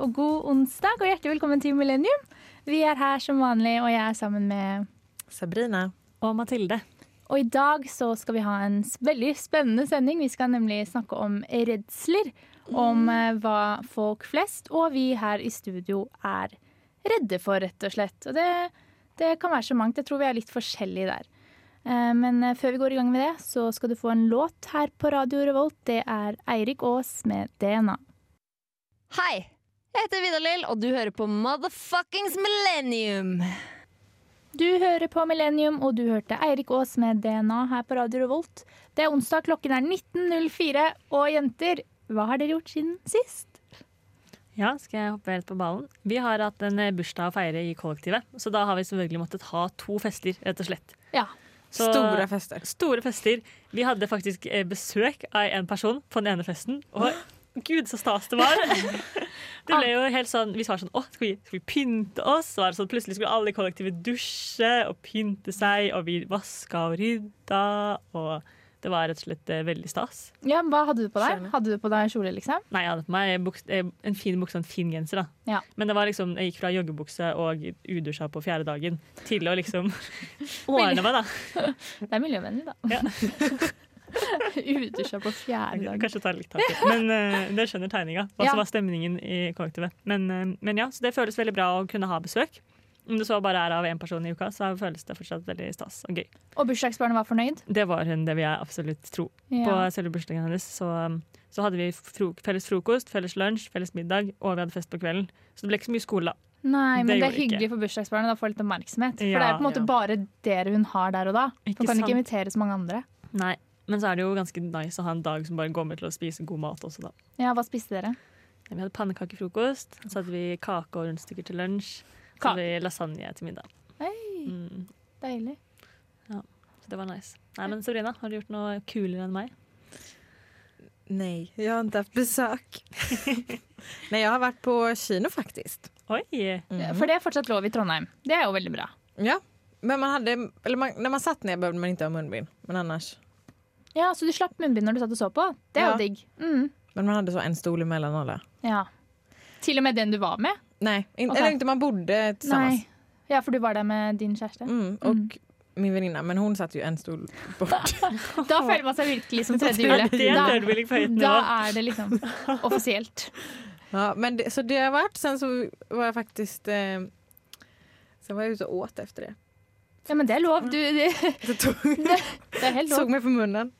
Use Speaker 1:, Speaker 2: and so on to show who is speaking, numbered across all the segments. Speaker 1: og god onsdag, og hjertelig velkommen til Millennium. Vi er her som vanlig, og jeg er sammen med
Speaker 2: Sabrina.
Speaker 3: Og Mathilde.
Speaker 1: Og i dag så skal vi ha en s- veldig spennende sending. Vi skal nemlig snakke om redsler. Om eh, hva folk flest og vi her i studio er redde for, rett og slett. Og det, det kan være så mangt. Jeg tror vi er litt forskjellige der. Eh, Men eh, før vi går i gang med det, så skal du få en låt her på Radio Revolt. Det er Eirik Aas med DNA.
Speaker 4: Hei! Jeg heter Vidar-Lill, og du hører på Motherfuckings Millennium.
Speaker 1: Du hører på Millennium, og du hørte Eirik Aas med DNA her på Radio Revolt. Det er onsdag, klokken er 19.04. Og jenter, hva har dere gjort siden sist?
Speaker 3: Ja, skal jeg hoppe helt på ballen? Vi har hatt en eh, bursdag å feire i kollektivet, så da har vi selvfølgelig måttet ha to fester, rett og slett.
Speaker 1: Ja.
Speaker 3: Så,
Speaker 2: Store fester.
Speaker 3: Store fester. Vi hadde faktisk eh, besøk av en person på den ene festen, og gud, så stas det var! Det ble jo helt sånn, Vi var sånn Å, skal vi, skal vi pynte oss? Så var det sånn, plutselig skulle alle i kollektivet dusje og pynte seg, og vi vaska og rydda, og det var rett og slett eh, veldig stas.
Speaker 1: Ja, men Hva hadde du på deg?
Speaker 2: Skjønner.
Speaker 1: Hadde du på deg kjole, liksom?
Speaker 3: Nei, jeg hadde på meg buks, eh, en fin bukse og en fin genser. da.
Speaker 1: Ja.
Speaker 3: Men det var liksom, jeg gikk fra joggebukse og udusja på fjerde dagen til å liksom ordne meg, da.
Speaker 1: Det er miljøvennlig, da.
Speaker 3: Ja.
Speaker 1: Udusja på fjerde dag.
Speaker 3: Kanskje ta litt tak i. Men eh, dere skjønner tegninga. Hva
Speaker 1: Ja.
Speaker 3: som var stemningen i kollektivet. Men, eh, men ja, så det føles veldig bra å kunne ha besøk. Om det så bare er av én person i uka, så føles det fortsatt veldig stas og gøy.
Speaker 1: Og bursdagsbarnet var fornøyd?
Speaker 3: Det var hun, det vil jeg absolutt tro. På selve bursdagen hennes så, så hadde vi fro felles frokost, felles lunsj, felles middag, og vi hadde fest på kvelden. Så det ble ikke så mye skole, da.
Speaker 1: Nei, men det, er
Speaker 3: det gjorde det
Speaker 1: hyggelig for bursdagsbarnet å få litt oppmerksomhet. For
Speaker 3: Ja,
Speaker 1: det er jo på en måte
Speaker 2: ja.
Speaker 1: bare dere hun har der og da.
Speaker 3: Ikke
Speaker 1: Hun kan
Speaker 3: sant?
Speaker 1: ikke invitere så mange andre.
Speaker 3: Nei, men så er det jo ganske nice å ha en dag som bare går med til å spise god mat også, da.
Speaker 1: Ja, Hva spiste dere?
Speaker 3: Vi hadde pannekake i frokost, så hadde vi kake og rundstykker til lunsj. Så
Speaker 1: Kake.
Speaker 3: hadde vi lasagne til middag.
Speaker 1: Hei,
Speaker 3: Mm,
Speaker 1: deilig.
Speaker 3: så det var nice. Nei, men Sabrina, har du gjort noe kulere enn meg?
Speaker 2: Nei, jeg har ikke hatt besøk. Nei, jeg har vært på kino faktisk.
Speaker 3: Oi!
Speaker 1: For det er fortsatt lov i Trondheim. Det er jo veldig bra.
Speaker 2: Ja. Men man hadde, eller man, når man satt ned behövde man ikke ha munnbind. Men annars.
Speaker 1: Ja, Så du slapp munnbind når du satt og så på? Det er
Speaker 2: Ja.
Speaker 1: jo digg. Mm.
Speaker 2: Men man hadde så en stol emellan alle.
Speaker 1: Ja. Til og med den du var med?
Speaker 2: Nej, in,
Speaker 1: Okej.
Speaker 2: eller inte man bodde tillsammans.
Speaker 1: Ja, for du var der med din kjæreste?
Speaker 2: Mm, och min väninna, men hon satt ju en stol bort.
Speaker 1: Da føler man seg virkelig som tredje
Speaker 3: Ja,
Speaker 1: hjulet.
Speaker 3: det er en
Speaker 1: Da,
Speaker 3: dørbilling på høyt
Speaker 1: da
Speaker 3: nivå.
Speaker 1: er det liksom offisielt.
Speaker 2: ja, men det, så det har varit. Sen så var jag faktiskt... Eh, sen var jag ute och åt efter det.
Speaker 1: Ja, men det er lov. Du, det,
Speaker 2: Så tog,
Speaker 1: det er helt
Speaker 2: såg
Speaker 1: lov.
Speaker 2: mig på munnen.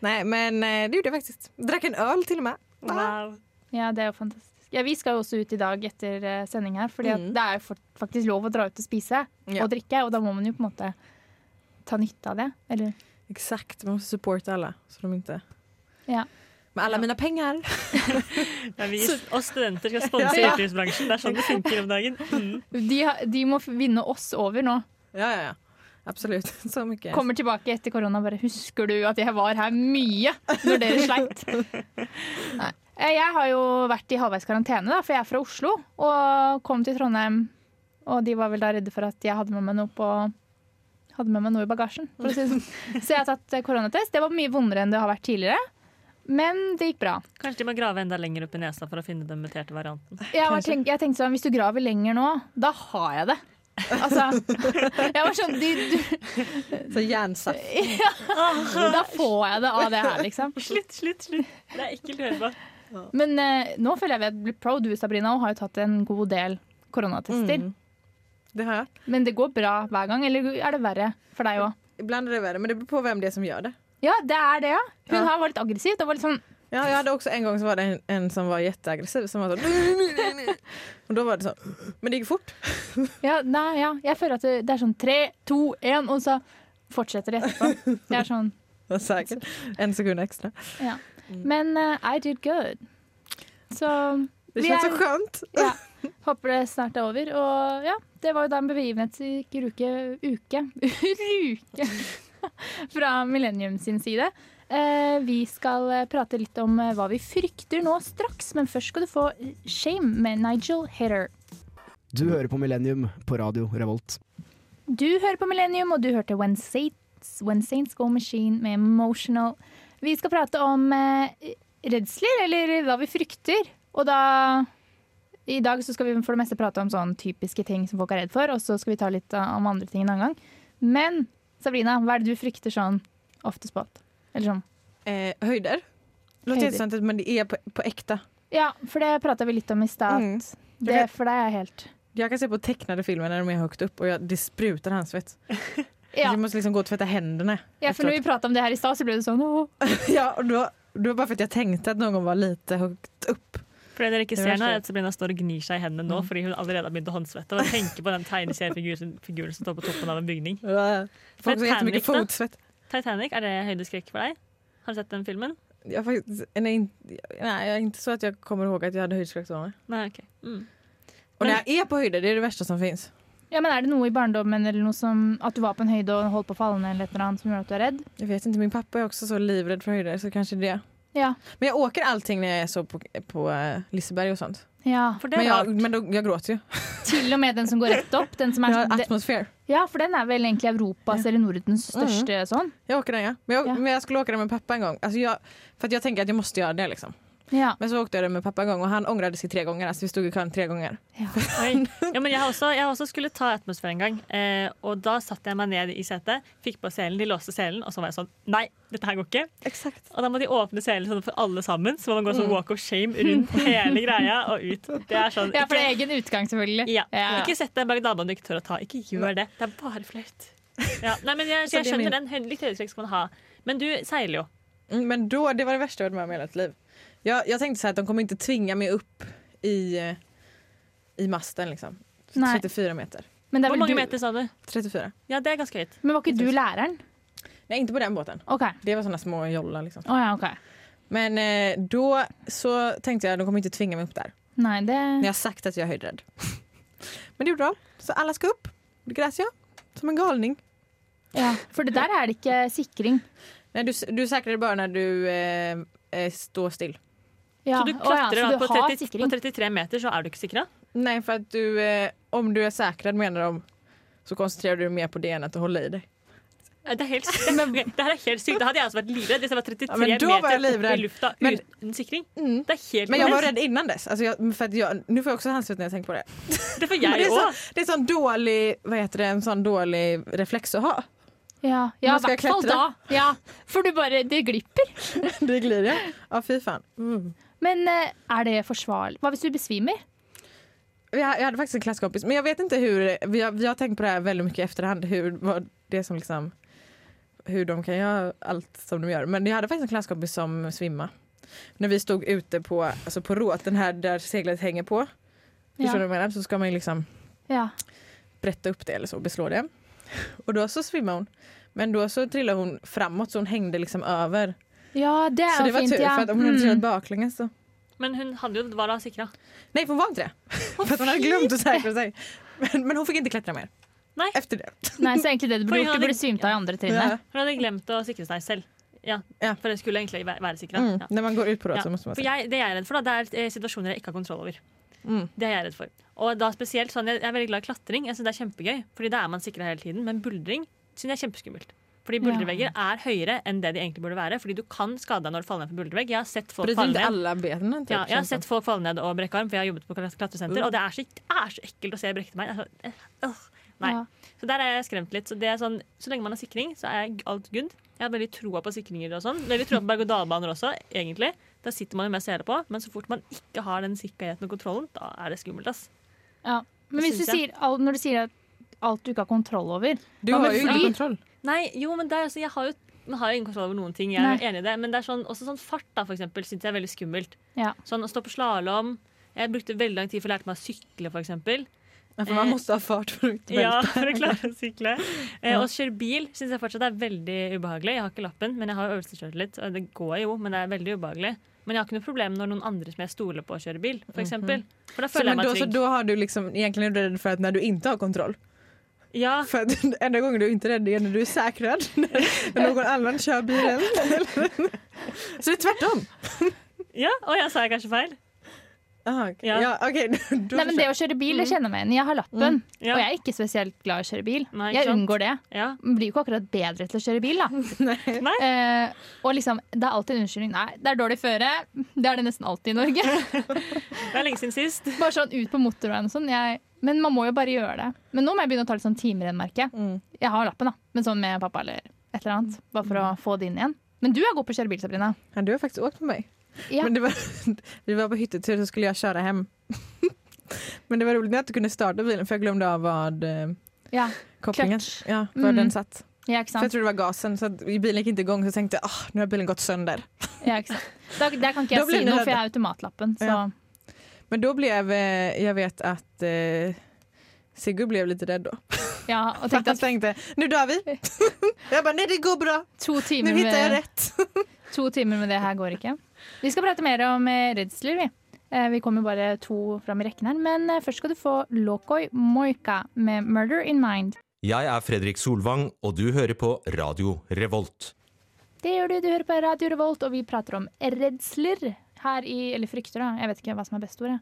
Speaker 2: Nej, men eh, det gjorde jag faktiskt. Drack en öl till och med.
Speaker 3: Wow.
Speaker 1: Ja, det er jo fantastisk. Ja, Vi skal jo også ut i dag etter eh, sending her, for
Speaker 2: Mm.
Speaker 1: det er jo fort- faktisk lov å dra ut og spise
Speaker 2: Ja.
Speaker 1: og drikke, og da må man jo på en måte ta nytte av det. Eller
Speaker 2: Exakt, man måste supporta alla så de inte...
Speaker 1: Ja.
Speaker 2: Med alla
Speaker 3: Ja.
Speaker 2: mina pengar.
Speaker 3: Ja, vi og studenter skal sponse
Speaker 2: Ja, ja.
Speaker 3: utelivsbransjen. Det er sånn det funker om dagen. Mm.
Speaker 1: de, har- de må vinne oss over nå.
Speaker 2: Ja, ja, ja. Absolut. Så mycket.
Speaker 1: Kommer tilbake etter korona og bare 'Husker du at jeg var her mye når dere sleit?' Nei. Eh, Jeg har jo vært i halvveis karantene, da, for jeg er fra Oslo. Og kom til Trondheim, og de var vel da redde for at jeg hadde med meg noe på hadde med meg noe i bagasjen. For å si det sånn. Så jeg har tatt eh, koronatest. Det var mye vondere enn det har vært tidligere. Men det gikk bra.
Speaker 3: Kanskje de må grave enda lenger opp i nesa for å finne den muterte varianten.
Speaker 1: Jeg, var tenk, jeg tenkte sånn, hvis du graver lenger nå, da har jeg det. Altså, jeg var sånn de, du,
Speaker 2: Så hjärnsaft.
Speaker 1: Da får jeg det av det her, liksom.
Speaker 3: Slutt, slutt, slutt! Det er ekkelt hørbart.
Speaker 1: Men eh, nå føler jeg vi har blitt pro. Du, Sabrina, og har jo tatt en god del koronatester.
Speaker 2: Mm. Det har jag.
Speaker 1: Men det går bra hver gang, eller er det verre for deg òg?
Speaker 2: Ibland är det värre, men det beror på vem det är som gör det.
Speaker 1: Ja, det er det, ja. Hun
Speaker 2: Ja.
Speaker 1: her var litt aggressiv. Det var litt sånn
Speaker 2: Ja, jag hade också en gång så var det en, en som var jätteaggressiv som var så Och då var det så Men det gick fort.
Speaker 1: Ja, nei, ja. Jeg føler at det, det er sånn tre, to, én, og så fortsetter det etterpå. Det er sånn
Speaker 2: Ja, Säkert. En sekund extra.
Speaker 1: Ja. Men eh, I did good. Så
Speaker 2: Det
Speaker 1: Vi
Speaker 2: känns
Speaker 1: är-
Speaker 2: så skönt.
Speaker 1: ja. Håper det snart er over. Og ja, det var jo da en begivenhetsrik uke Uke! uke. Fra Millennium sin side. Eh, vi skal eh, prate litt om eh, hva vi frykter nå straks, men først skal du få eh, Shame med Nigel Hatter.
Speaker 5: Du hører på Millennium på radio Revolt.
Speaker 1: Du hører på Millennium, og du hørte When Saints, When Saints Go Machine med Emotional. Vi skal prate om eh, redsler, eller hva vi frykter. Og da I dag så skal vi for det meste prate om sånn typiske ting som folk er redd for, og så skal vi ta litt uh, om andre ting en annen gang. Men Sabrina, hva er det du frykter sånn off the spot? Eller sånn
Speaker 2: Eh, höjder. Låter
Speaker 1: Höjder.
Speaker 2: jättesantigt men det är på, på äkta.
Speaker 1: Ja, for det prata vi litt om i stad.
Speaker 2: Mm.
Speaker 1: Det for deg er helt
Speaker 2: Jag kan se på tecknade filmer när de är högt upp och jag, det sprutar handsvett.
Speaker 1: Ja,
Speaker 2: Jag måste liksom gå och tvätta händerna.
Speaker 1: ja for når vi prata om det her i stad, så ble det sånn åh.
Speaker 2: ja, och då, då bara för att jag tänkte att någon var lite högt upp.
Speaker 3: For det dere ikke
Speaker 2: Det
Speaker 3: ser
Speaker 2: var
Speaker 3: nå, er
Speaker 2: slett.
Speaker 3: at Sabrina står og gnir seg i hendene nå fordi hun allerede har begynt å håndsvette. Og jeg tenker på den tegneseriefiguren figuren som står på toppen av en bygning.
Speaker 2: Folk har jättemycket
Speaker 3: Titanic då?
Speaker 2: fotsvett.
Speaker 3: Titanic, er det høydeskrekk for deg? Har du sett den filmen?
Speaker 2: Jag faktiskt, nej, inte- nej, jag är inte så att jag kommer ihåg att jag hade höjdskräck som barn.
Speaker 3: Nei, ok. Mm.
Speaker 2: Och när jag är på höjder, det är det värsta som finns.
Speaker 1: Ja, men Er det noe i barndommen eller noe som, at du var på en høyde og holdt på å falle ned, eller et eller annet som gjorde at du er redd?
Speaker 2: Jag vet inte, min pappa är också så livrädd för höjder så kanske det. är det.
Speaker 1: Ja.
Speaker 2: Men jag åker allting när jeg er så på, på eh, Liseberg och sånt.
Speaker 1: ja.
Speaker 3: For det
Speaker 2: Men,
Speaker 3: er
Speaker 2: jag,
Speaker 3: rart.
Speaker 2: men då, jag gråter ju.
Speaker 1: Til og med den som går rett opp. Den som
Speaker 2: Jag
Speaker 1: er
Speaker 2: har
Speaker 1: sånn, det,
Speaker 2: atmosfär.
Speaker 1: ja, for den er vel egentlig Europas eller Nordens
Speaker 2: Mm.
Speaker 1: største sånn.
Speaker 2: Jag åker den ja. Men jag,
Speaker 1: Ja.
Speaker 2: Men jag skulle åka den med pappa en Altså, gång. Alltså jag, för att jag tänker att jag måste göra det liksom.
Speaker 1: Ja.
Speaker 2: Men så åkte jag den med pappa en gång och han ångrade sig tre altså, gånger. Alltså vi stod i kön tre gånger.
Speaker 3: Oi. Ja, men jeg, har også, jeg har også skulle ta atmosfære en gang. Eh, og da satte jeg meg ned i setet, fikk på selen, de låste selen, og så var jeg sånn Nei, dette her går ikke.
Speaker 2: Exakt.
Speaker 3: Og da må de åpne selen sånn for alle sammen, så må man gå sånn walk of shame rundt hele greia og ut. Det er sånn
Speaker 1: ja, for det
Speaker 3: ikke-
Speaker 1: er egen utgang, selvfølgelig.
Speaker 3: Ja.
Speaker 1: Ja.
Speaker 3: Ikke sett deg bak dama du ikke tør å ta. Ikke gjør det. Det er bare flaut. Ja. Nei, men jeg,
Speaker 2: Så
Speaker 3: jeg
Speaker 2: det er
Speaker 3: skjønner
Speaker 2: min-
Speaker 3: den. Høy- Litt høydeskrekk skal man ha. Men du seiler jo.
Speaker 2: Mm, Men då, det var det värsta jag varit med om i hela mitt liv. Jag, jag tänkte så här att de kommer inte tvinga mig upp i, eh, i masten liksom.
Speaker 1: Nej.
Speaker 2: 34 meter.
Speaker 1: Men, det er
Speaker 3: Hvor
Speaker 1: vel
Speaker 3: mange
Speaker 1: du,
Speaker 3: meter sa du?
Speaker 2: 34.
Speaker 3: Ja, det er ganske høyt.
Speaker 1: men var ikke du læreren?
Speaker 2: Nej inte på den båten.
Speaker 1: OK.
Speaker 2: Det var sådana små jollar liksom.
Speaker 1: Å ja, OK.
Speaker 2: Men eh, då så tänkte jag att de kommer inte tvinga mig upp där.
Speaker 1: Nei, det
Speaker 2: När jag sagt att jag är höjdrädd. Men det gjorde de. Så alla ska upp. Då gräs jag. Som en galning.
Speaker 1: ja. For det der er det ikke sikring.
Speaker 2: Nej, du, du säkrar det bara när du eh, eh, står still.
Speaker 1: Ja.
Speaker 3: Så du
Speaker 1: å ja,
Speaker 3: klatrer
Speaker 1: så
Speaker 3: da
Speaker 1: du
Speaker 3: på,
Speaker 1: har
Speaker 3: 30, på
Speaker 1: sikring.
Speaker 3: 33 meter, så er du ikke sikra?
Speaker 2: Nej, för att du, eh, om du är säkrad menar de så koncentrerar du dig mer på det än att du håller i dig.
Speaker 3: Det, er helt, det, det her er helt sykt. Da hadde jeg altså vært livredd hvis jeg var 33
Speaker 2: Ja, men da var jeg
Speaker 3: meter opp i
Speaker 2: livredd.
Speaker 3: lufta
Speaker 2: Men-
Speaker 3: uten sikring. Det er helt
Speaker 2: Men jag var
Speaker 3: horrendous.
Speaker 2: rädd innan dess. Alltså jag, för att jag, nu får jag också handsvett när jeg tenker på det.
Speaker 3: Det får
Speaker 2: Men det,
Speaker 3: jeg
Speaker 2: är
Speaker 3: òg.
Speaker 2: så, det är sån dålig, vad heter det, en sån dårlig reflex att ha.
Speaker 1: Ja, ja i
Speaker 2: Nå skal jeg
Speaker 1: hvert fall da.
Speaker 2: klatre.
Speaker 1: Ja, for du bare Det glipper.
Speaker 2: Det glider jag. Ja, fy fan. Mm.
Speaker 1: Men eh, er det forsvarlig? Hva hvis du besvimer?
Speaker 2: Jag, jag hade faktiskt en klasskompis, men jag vet inte hur, vi har, vi har tänkt på det här väldigt mycket i efterhand, hur, vad det som liksom, hur de kan göra allt som de gör. Men jag hade faktiskt en klasskompis som svimma. När vi stod ute på, alltså på råt, den här där seglet hänger på, förstår du
Speaker 1: Ja.
Speaker 2: vad jag menar? Så ska man ju liksom
Speaker 1: ja.
Speaker 2: bretta upp det eller så, beslå det. Och då så svimmade hon. Men då så trillade hon framåt så hon hängde liksom över.
Speaker 1: ja det er
Speaker 2: så det
Speaker 1: jo
Speaker 2: var
Speaker 1: fint.
Speaker 2: tur
Speaker 1: ja.
Speaker 2: för att om hon hade
Speaker 1: Mm.
Speaker 2: trillat baklänges så.
Speaker 3: Men hun hadde jo var da sikra.
Speaker 2: Nej för hon var inte det. för att hon hade glömt att säkra sig. Men, men hon fick inte klättra mer.
Speaker 3: Nej.
Speaker 2: Efter det.
Speaker 1: Mm. Nei, så egentlig det du burde
Speaker 3: For hun
Speaker 1: gjort, du
Speaker 3: hadde-
Speaker 1: burde svimt av i andre
Speaker 2: Ja.
Speaker 1: trinnet.
Speaker 3: Hun hadde glemt å sikre seg selv. Ja,
Speaker 2: Ja.
Speaker 3: For det skulle egentlig væ- være sikra.
Speaker 2: Mm.
Speaker 3: Ja.
Speaker 2: När man går ut på råd
Speaker 3: Ja,
Speaker 2: så måste man
Speaker 3: For
Speaker 2: säga.
Speaker 3: jeg, det jeg er redd for, da, det er eh, situasjoner jeg ikke har kontroll over.
Speaker 2: Mm.
Speaker 3: Det er jeg redd for. Og da spesielt sånn, Jeg jeg er veldig glad i klatring. Jeg synes det er kjempegøy, Fordi da er man sikra hele tiden. Men buldring synes jeg er kjempeskummelt. Fordi buldrevegger er høyere enn det de egentlig burde være. Fordi du kan skade deg når du faller ned på buldrevegg. Jeg har sett folk
Speaker 2: Bryter
Speaker 3: falle
Speaker 2: inte
Speaker 3: ned.
Speaker 2: alla benen typ.
Speaker 3: Ja, jeg har
Speaker 2: känns
Speaker 3: sett
Speaker 2: det.
Speaker 3: folk falle ned og brekke arm, for jeg har jobbet på klat- klatresenter. Og det er så, det er så ekkelt å se jeg brekte meg. Altså, eh, øh, nei.
Speaker 1: Ja.
Speaker 3: Så der er jeg skremt litt. Så, det er sånn, så lenge man har sikring, så er alt good. Jeg har veldig troa på sikringer og sånn. Veldig troa på berg-og-dal-baner også, egentlig. Da sitter man jo med sele på. Men så fort man ikke har den sikkerheten og kontrollen, da er det skummelt, ass.
Speaker 1: Ja. Men
Speaker 3: Det
Speaker 1: hvis du
Speaker 3: synes
Speaker 1: sier, al- når du sier at alt du ikke har kontroll over
Speaker 2: Du
Speaker 1: Hva
Speaker 2: har
Speaker 1: med
Speaker 2: ju
Speaker 1: fly?
Speaker 2: ingen kontroll.
Speaker 3: Nei, jo, men der, altså, jeg har jo man har jo ingen kontroll over noen ting, jeg er
Speaker 1: Nei.
Speaker 3: enig i det. Men det er sånn, også sånn fart da, for eksempel, synes jeg er veldig skummelt.
Speaker 1: Ja.
Speaker 3: Sånn å stå på slalåm. Jeg brukte veldig lang tid for å lære meg å sykle, for eksempel.
Speaker 2: Ja, för man måste ha fart för att inte
Speaker 3: Ja,
Speaker 2: välta.
Speaker 3: for å klare å sykle. Eh, og kjøre bil synes jeg fortsatt er veldig ubehagelig. Jeg har ikke lappen, men jeg har øvelseskjørt litt. og Det går jo, men det er veldig ubehagelig. Men jeg har ikke noe problem når noen andre som jeg stoler på, kjører bil, for eksempel. For da
Speaker 2: Mhm. Så,
Speaker 3: føler
Speaker 2: men då,
Speaker 3: jeg
Speaker 2: så
Speaker 3: meg trygg.
Speaker 2: då har du liksom, egentligen är du rädd för att när du inte har kontroll.
Speaker 3: Ja,
Speaker 2: För att enda gången du är inte är rädd är när du är säkrad. när någon annan kör bilen. så det är tvärtom.
Speaker 3: ja, og jeg sa jeg kanskje feil.
Speaker 2: Aha, ok.
Speaker 3: Ja.
Speaker 2: Ah, Ja, ok. Du
Speaker 1: Nei, men Det å kjøre bil det kjenner jeg meg igjen. i. Jeg har lappen,
Speaker 3: Mm. Ja.
Speaker 1: og jeg er ikke spesielt glad i å kjøre bil.
Speaker 3: Nei, ikke
Speaker 1: jeg
Speaker 3: sant?
Speaker 1: unngår det.
Speaker 3: Ja.
Speaker 1: Blir jo ikke akkurat bedre til å kjøre bil, da.
Speaker 3: Nei.
Speaker 1: Eh, og liksom, det er alltid en unnskyldning. Nei, det er dårlig føre. Det er det nesten alltid i Norge.
Speaker 3: Det er lenge siden sist.
Speaker 1: Bare sånn ut på motorveien og sånn. Jeg, men man må jo bare gjøre det. Men nå må jeg begynne å ta litt sånn timerennmerke.
Speaker 2: Mm.
Speaker 1: Jeg har lappen, da, men sånn med pappa eller et eller annet. Bare for å
Speaker 2: Mm.
Speaker 1: få det inn igjen. Men du er god på å kjøre bil, Sabrina.
Speaker 2: Ja, du har faktiskt åkt med mig.
Speaker 1: Ja.
Speaker 2: Men det var, vi var på hyttetur så skulle jag köra hem. men det var roligt när jag inte kunde starta bilen för jag glömde av vad eh,
Speaker 1: Ja,
Speaker 2: kopplingen
Speaker 1: Clutch.
Speaker 2: ja, var
Speaker 1: Mm.
Speaker 2: den satt.
Speaker 1: ja ikke
Speaker 2: För jag
Speaker 1: sant.
Speaker 2: trodde det var gasen så att bilen gick inte igång så jag tänkte ah, nu har bilen gått sönder.
Speaker 1: Ja, ikke sant. Da, der kan ikke
Speaker 2: Da
Speaker 1: jeg
Speaker 2: blir
Speaker 1: si
Speaker 2: du
Speaker 1: noe,
Speaker 2: redd.
Speaker 1: for jeg har automatlappen. Så
Speaker 2: Ja. Men då blev, eh, jag vet att eh, Sigurd blev lite rädd då.
Speaker 1: ja, og
Speaker 2: För att
Speaker 1: tenkte
Speaker 2: han
Speaker 1: at
Speaker 2: tänkte nu dör vi. jag bara nej det går bra,
Speaker 1: to
Speaker 2: nu
Speaker 1: timer
Speaker 2: hittar jag
Speaker 1: med
Speaker 2: rätt.
Speaker 1: To timer med det her går ikke. Vi skal prate mer om eh, redsler, vi. Eh, Vi kommer bare to fram i rekken her, men eh, først skal du få Lokoi Moika med 'Murder in Mind'.
Speaker 6: Jeg er Fredrik Solvang, og du hører på Radio Revolt.
Speaker 1: Det gjør du, du hører på Radio Revolt, og vi prater om redsler her i Eller frykter, da. Jeg vet ikke hva som er beste ordet.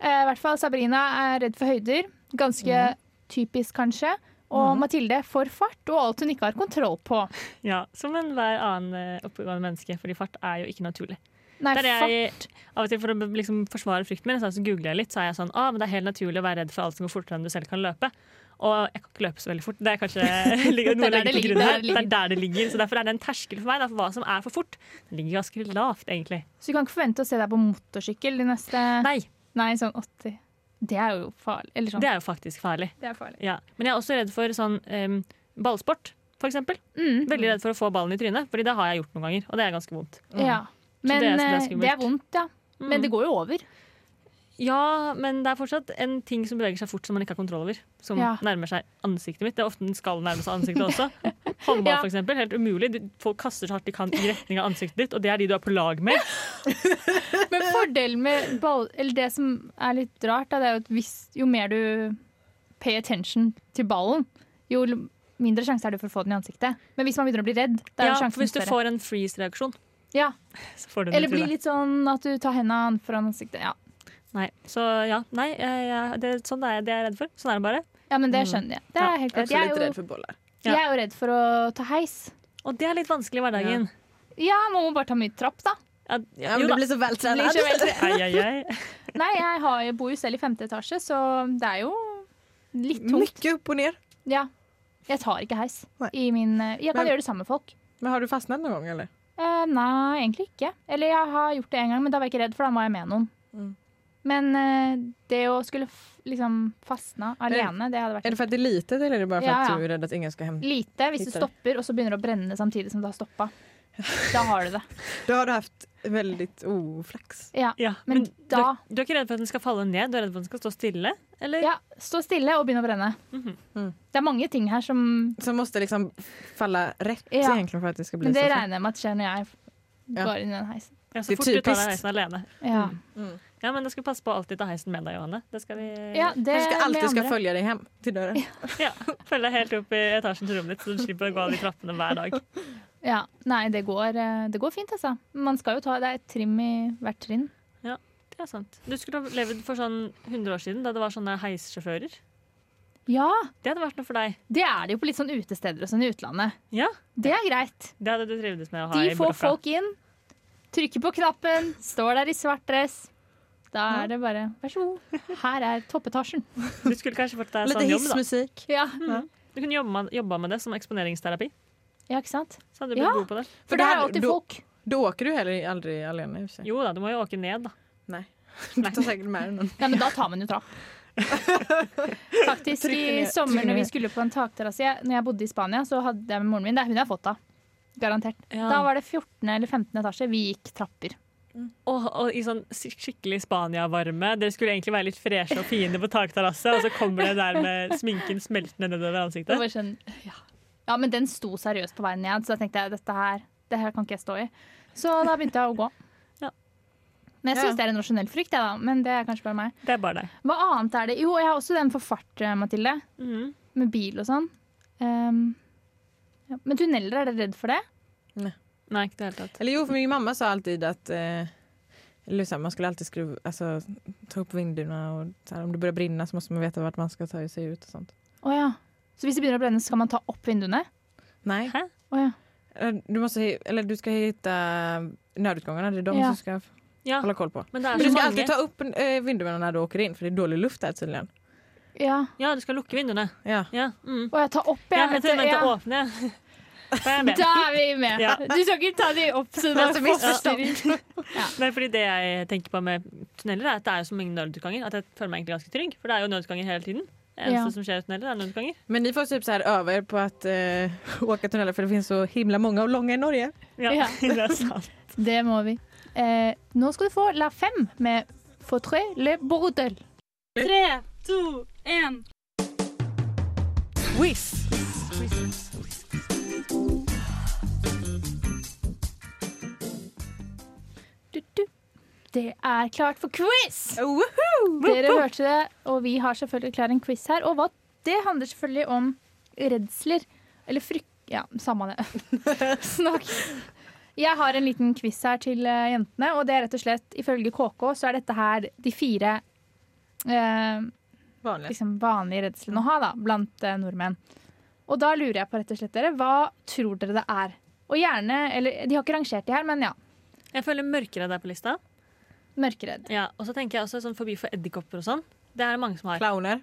Speaker 1: Eh, I hvert fall Sabrina er redd for høyder. Ganske typisk, kanskje. Og
Speaker 3: Mhm.
Speaker 1: Mathilde for fart og alt hun ikke har kontroll på.
Speaker 3: Ja, Som enhver annen eh, oppegående menneske, fordi fart er jo ikke naturlig.
Speaker 1: Nei,
Speaker 3: Der er
Speaker 1: fart.
Speaker 3: jeg, av og til For å liksom forsvare frykten min så altså googler jeg litt, så er jeg sånn ah, men det er helt naturlig å være redd for alt som går fortere enn du selv kan løpe. Og jeg kan ikke løpe så veldig fort. Det er kanskje ligger- noe
Speaker 1: Det er der
Speaker 3: å legge
Speaker 1: det
Speaker 3: til
Speaker 1: ligger,
Speaker 3: grunn
Speaker 1: det er der det ligger.
Speaker 3: her. Det er der det ligger. Så derfor er det en terskel for meg da, for hva som er for fort. Det ligger ganske lavt, egentlig.
Speaker 1: Så du kan ikke forvente å se deg på motorsykkel de neste Nei,
Speaker 3: Nei,
Speaker 1: sånn 80. Det er jo farlig. Eller sånn.
Speaker 3: det er jo faktisk farlig.
Speaker 1: det er farlig.
Speaker 3: Ja. Men jeg er også redd for sånn em, ballsport, for eksempel.
Speaker 1: Mm.
Speaker 3: Veldig redd for å få ballen i trynet, Fordi det har jeg gjort noen ganger, og det er ganske vondt.
Speaker 1: Ja. Men
Speaker 3: det er- det er
Speaker 1: eh,
Speaker 3: skummelt. Mm.
Speaker 1: det er vondt, ja. Men det går jo over.
Speaker 3: Ja, men det er fortsatt en ting som beveger seg fort som man ikke har kontroll over. Som
Speaker 1: Ja.
Speaker 3: nærmer seg ansiktet mitt. Det er ofte den skal nærme seg ansiktet også. Håndball,
Speaker 1: Ja.
Speaker 3: for eksempel. Helt umulig. Du- Folk kaster så hardt de kan i retning av ansiktet ditt, og det er de du er på lag med.
Speaker 1: Men
Speaker 3: Eh.
Speaker 1: fordelen med ball, eller det som er litt rart, da, det er jo at hvis, jo mer du pay attention til ballen, jo l- mindre sjanse er det for å få den i ansiktet. Men hvis man begynner å bli redd, da er
Speaker 3: Ja,
Speaker 1: jo
Speaker 3: for
Speaker 1: sjansen
Speaker 3: hvis du
Speaker 1: større.
Speaker 3: får en freeze-reaksjon,
Speaker 1: Ja.
Speaker 3: så får du den i
Speaker 1: Eller blir
Speaker 3: trynet.
Speaker 1: litt sånn at du tar hendene foran ansiktet. Ja.
Speaker 3: Nei. Så ja, nei, jeg, jeg, det, sånn er jeg, det er jeg redd for. Sånn er det bare.
Speaker 1: ja, men det skjønner jeg. Det
Speaker 3: Ja,
Speaker 1: er helt
Speaker 2: Jag är
Speaker 1: greit.
Speaker 2: också
Speaker 1: Jeg,
Speaker 2: lite
Speaker 1: er
Speaker 2: rädd
Speaker 1: jo-
Speaker 2: for bollar.
Speaker 3: Ja.
Speaker 1: jeg er jo redd for å ta heis.
Speaker 3: Og det er litt vanskelig i hverdagen.
Speaker 1: Ja, man må bare ta mye trapp, da.
Speaker 3: Ja,
Speaker 2: Ja, men
Speaker 3: jo
Speaker 2: du
Speaker 3: da.
Speaker 2: blir så
Speaker 1: Blir
Speaker 2: vältränad.
Speaker 1: ikke veldig-
Speaker 3: Ai, ai, ai.
Speaker 1: Nei, jeg har, jeg bor jo selv i femte etasje, så det er jo litt tungt.
Speaker 2: Mycket upp och ner.
Speaker 1: Ja. Jeg tar ikke heis.
Speaker 2: Nei.
Speaker 1: I min, eh, jeg kan
Speaker 2: Men-
Speaker 1: gjøre det sammen med folk.
Speaker 2: Men har du fastnat någon gång eller?
Speaker 1: Eh, nei, egentlig ikke. Eller jeg har gjort det en gang, men da var jeg ikke redd, for da var jeg med noen.
Speaker 2: Mm.
Speaker 1: Men eh, det å skulle f liksom fastna alene, det hadde vært
Speaker 2: Är det för att det är litet eller är det bara för
Speaker 1: Ja,
Speaker 2: att
Speaker 1: ja.
Speaker 2: du är rädd att ingen ska hämta?
Speaker 1: lite. Hvis du
Speaker 2: Lite.
Speaker 1: stopper, og så begynner det å brenne samtidig som det har stoppa. Da har du det.
Speaker 2: Då har du haft väldigt oflax.
Speaker 1: Ja.
Speaker 3: Ja,
Speaker 1: Men
Speaker 3: men du,
Speaker 1: da-
Speaker 3: du er ikke redd for at den skal falle ned? Du er redd for at den skal stå stille? Eller?
Speaker 1: ja, stå stille og begynne å brenne.
Speaker 3: Mhm.
Speaker 2: Mm.
Speaker 1: Det er mange ting her som
Speaker 2: Som måste liksom falla rätt
Speaker 1: Ja.
Speaker 2: egentligen för att det ska bli
Speaker 1: Men det
Speaker 2: så fint.
Speaker 1: regner jeg med at skjer når jeg
Speaker 2: Ja. Mm.
Speaker 1: går inn i den heisen.
Speaker 3: Ja, så
Speaker 2: Det er
Speaker 3: fort du tar deg
Speaker 2: typisk.
Speaker 3: heisen alene.
Speaker 1: Ja,
Speaker 3: Ja, men da skal vi passe på å alltid ta heisen med deg, Johanne. Det skal vi
Speaker 1: ja det
Speaker 2: Du ska
Speaker 1: med
Speaker 2: alltid ska
Speaker 1: andre.
Speaker 2: följa dig hem till dörren.
Speaker 3: Ja, følge deg helt opp i etasjen til rommet ditt, så du slipper å gå av de trappene hver dag.
Speaker 1: Ja, nei, det går, eh, det går fint, altså. Man skal jo ta det er et trim i hvert trinn.
Speaker 3: Det er sant. Du skulle ha levd for sånn 100 år siden, da det var sånne heissjåfører.
Speaker 1: Ja,
Speaker 3: Det hadde vært noe for deg.
Speaker 1: det er det jo på litt sånn utesteder og sånn i utlandet.
Speaker 3: Ja,
Speaker 1: Det er greit.
Speaker 3: Det hadde du trivdes med å ha
Speaker 1: De
Speaker 3: i
Speaker 1: får
Speaker 3: blokka.
Speaker 1: folk inn, trykker på knappen, står der i svart dress. Da er det bare vær så god, her er toppetasjen.
Speaker 3: Du skulle kanskje fått deg
Speaker 2: Lite
Speaker 3: sånn jobb, da.
Speaker 2: hissmusik.
Speaker 1: Ja,
Speaker 3: Du kunne jobba, jobba med det som eksponeringsterapi.
Speaker 1: ja ikke sant?
Speaker 3: Så hadde du blitt
Speaker 1: Ja.
Speaker 3: god på det.
Speaker 1: For der er
Speaker 2: det
Speaker 1: alltid
Speaker 2: da,
Speaker 1: folk.
Speaker 2: Då åker du heller aldrig alene i och för sig.
Speaker 3: Jo da, du må jo åke ned, da.
Speaker 2: Du tar säkert med dig någon.
Speaker 1: Ja, men da tar man jo trapp. Faktisk,
Speaker 2: Trykker
Speaker 1: i
Speaker 2: ned,
Speaker 1: sommer
Speaker 2: trykker
Speaker 1: når vi
Speaker 2: ned.
Speaker 1: skulle på en takterrasse jeg- Når jeg bodde i Spania, så hadde jeg med moren min Det er hun jeg har fått av. Garantert.
Speaker 3: Ja.
Speaker 1: Da var det 14. eller 15. etasje. Vi gikk trapper.
Speaker 3: Og, og i sånn sk- skikkelig Spania-varme. Dere skulle egentlig være litt freshe og fine på takterrasse, og så kommer det der med sminken smeltende nedover
Speaker 1: Det
Speaker 3: ansiktet.
Speaker 1: var sånn, ja. ja, men den sto seriøst på veien ned, så da tenkte jeg dette her, det her kan ikke jeg stå i. Så da begynte jeg å gå.
Speaker 3: Ja.
Speaker 1: Men jeg
Speaker 2: Ja.
Speaker 1: syns det er en rasjonell frykt, jeg da. Men det er kanskje bare meg.
Speaker 3: Det er bare deg.
Speaker 1: Hva annet er det? Jo, jeg har også den for fart, eh, Mathilde.
Speaker 3: Mhm.
Speaker 1: Med bil og sånn. Ehm, ja. Men tunneler, er dere redd for det?
Speaker 3: Nei, ikke i det hele tatt.
Speaker 2: Eller jo, för min mamma sa alltid att eh, Eller så här, man skulle alltid skruva, alltså, ta upp vinduerna och så här, om det börjar brinna så måste man veta vart man ska ta sig ut og sånt.
Speaker 1: Å ja. Så hvis det begynner å brenne, så skal man ta opp vinduene?
Speaker 2: Nej.
Speaker 3: Hæ?
Speaker 1: Å ja.
Speaker 2: Eller Eh, Du, måste, hi- eller du ska hitta nödutgångarna, det är de
Speaker 1: Ja.
Speaker 2: som ska f-
Speaker 3: Ja,
Speaker 2: hålla koll på.
Speaker 3: men det
Speaker 2: Men
Speaker 3: er
Speaker 2: du
Speaker 3: så
Speaker 2: ska alltid ta
Speaker 3: mange.
Speaker 2: upp eh, vinduerna när du åker in för det är dålig luft där tydligen.
Speaker 1: ja.
Speaker 3: Ja, du skal lukke vinduene.
Speaker 2: Ja.
Speaker 3: Ja, mm.
Speaker 1: Å ja, ta opp,
Speaker 3: ja
Speaker 1: ja.
Speaker 3: men
Speaker 1: vet du,
Speaker 3: jeg mente
Speaker 1: ja.
Speaker 3: åpne. Da er jeg med.
Speaker 1: Da er vi med.
Speaker 3: Ja.
Speaker 1: Du skal ikke ta de opp, så det
Speaker 2: Men så
Speaker 1: er
Speaker 2: misforstår
Speaker 1: forstyrring.
Speaker 3: Nei, fordi det jeg tenker på med tunneler, er at det er jo så mange nødutganger at jeg føler meg egentlig ganske trygg. For det er jo nødutganger hele tiden. Det eneste
Speaker 1: Ja.
Speaker 3: som skjer i tunneler, er nødutganger.
Speaker 2: Men ni får typ så här öva er på att eh, åka tunneler för det finnes så himla många och långa i Norge.
Speaker 3: Ja,
Speaker 1: Ja.
Speaker 3: det er sant.
Speaker 1: Det må vi. Eh, nå skal du få La Femme med Fautré le Bordel.
Speaker 7: Tre, to, én.
Speaker 2: Whiz!
Speaker 1: Du, du. Det er klart for quiz!
Speaker 2: Woho!
Speaker 1: Dere hørte det, og vi har selvfølgelig klar en quiz her. Og hva, det handler selvfølgelig om redsler. Eller frykt... Ja, samme det. Snakk. Jeg har en liten quiz her til eh, jentene, og det er rett og slett ifølge KK så er dette her de fire eh,
Speaker 2: Vanligt.
Speaker 1: liksom, vanlige redslene å ha da, blant eh, nordmenn. Og da lurer jeg på rett og slett dere, hva tror dere det er? Og gjerne, eller de har ikke rangert de her, men ja,
Speaker 3: Jeg føler mørkeredd er på lista.
Speaker 1: mørkeredd.
Speaker 3: Ja, og så tenker jeg også sånn forbi for edderkopper og sånn. Det er det mange som har.
Speaker 2: Clowner.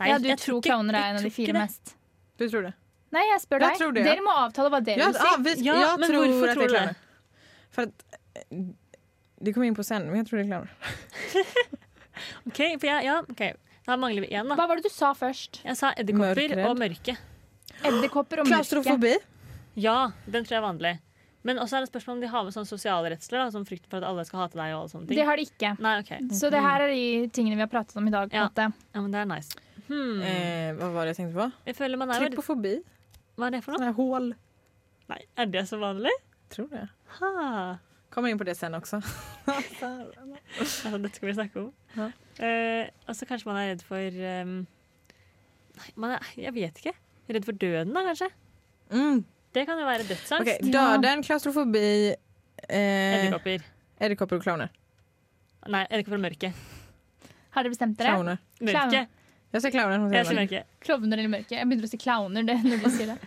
Speaker 3: Nei,
Speaker 1: ja, du
Speaker 3: jeg
Speaker 1: tror
Speaker 3: ikke-
Speaker 1: clowner
Speaker 3: jeg
Speaker 1: er en av de
Speaker 3: tror ikke
Speaker 1: fire
Speaker 3: det.
Speaker 1: mest.
Speaker 2: Du tror det?
Speaker 1: Nei, jeg spør
Speaker 2: Jeg
Speaker 1: deg.
Speaker 2: tror det.
Speaker 1: Dere må avtale hva dere
Speaker 2: Ja,
Speaker 1: vil
Speaker 2: ah,
Speaker 1: si.
Speaker 2: vi,
Speaker 3: Ja,
Speaker 2: jag
Speaker 3: men
Speaker 2: tror att
Speaker 3: varför
Speaker 2: det
Speaker 3: tror
Speaker 2: är
Speaker 3: du det?
Speaker 2: clowner. För att eh, det kommer jag in på sen, men jag tror det är clowner.
Speaker 3: Ok, for jeg, ja, ok. Da mangler vi én, da.
Speaker 1: Hva var det du sa først?
Speaker 3: Jeg sa edderkopper
Speaker 2: Mørkredd.
Speaker 3: og mørke.
Speaker 1: Edderkopper og mørke.
Speaker 2: Klaustrofobi.
Speaker 3: Ja, den tror jeg er vanlig. Men også er det spørsmål om de har med sånne sosiale redsler. da, Sånn frykt for at alle skal hate deg og alle sånne ting.
Speaker 1: Det har de ikke.
Speaker 3: Nei, ok.
Speaker 1: Så det her er de tingene vi har pratet om i dag. på en
Speaker 3: Ja.
Speaker 1: måte.
Speaker 3: Ja, men det er nice. Hmm.
Speaker 2: Eh, vad var det jag tänkte på?
Speaker 3: Jeg føler man er veldig...
Speaker 2: Trypofobi.
Speaker 3: Hva er det for noe?
Speaker 2: Sådana här hål.
Speaker 3: Nei, er det så vanlig?
Speaker 2: Tror det.
Speaker 3: Ha.
Speaker 2: Kommer in på det sen også.
Speaker 3: Altså, dette skal vi snakke om.
Speaker 2: Ja.
Speaker 3: Eh, altså, kanskje man er redd for ehm, Nei, man er, jeg vet ikke. Redd for døden, da, kanskje?
Speaker 2: Mm.
Speaker 3: Det kan jo være dødsangst.
Speaker 2: Okej, Döden, klaustrofobi, eh,
Speaker 3: Edderkopper.
Speaker 2: edderkoppor og clowner.
Speaker 3: Nei, edderkopper og mørke.
Speaker 1: Har dere bestemt dere?
Speaker 2: clowner.
Speaker 3: Mørke.
Speaker 1: Clown.
Speaker 2: Jag säger clowner. Hon
Speaker 3: Jeg
Speaker 2: säger
Speaker 3: sier
Speaker 2: det.
Speaker 3: mørke.
Speaker 1: Klovner eller mørke? Jeg begynner å si clowner det, når du sier det.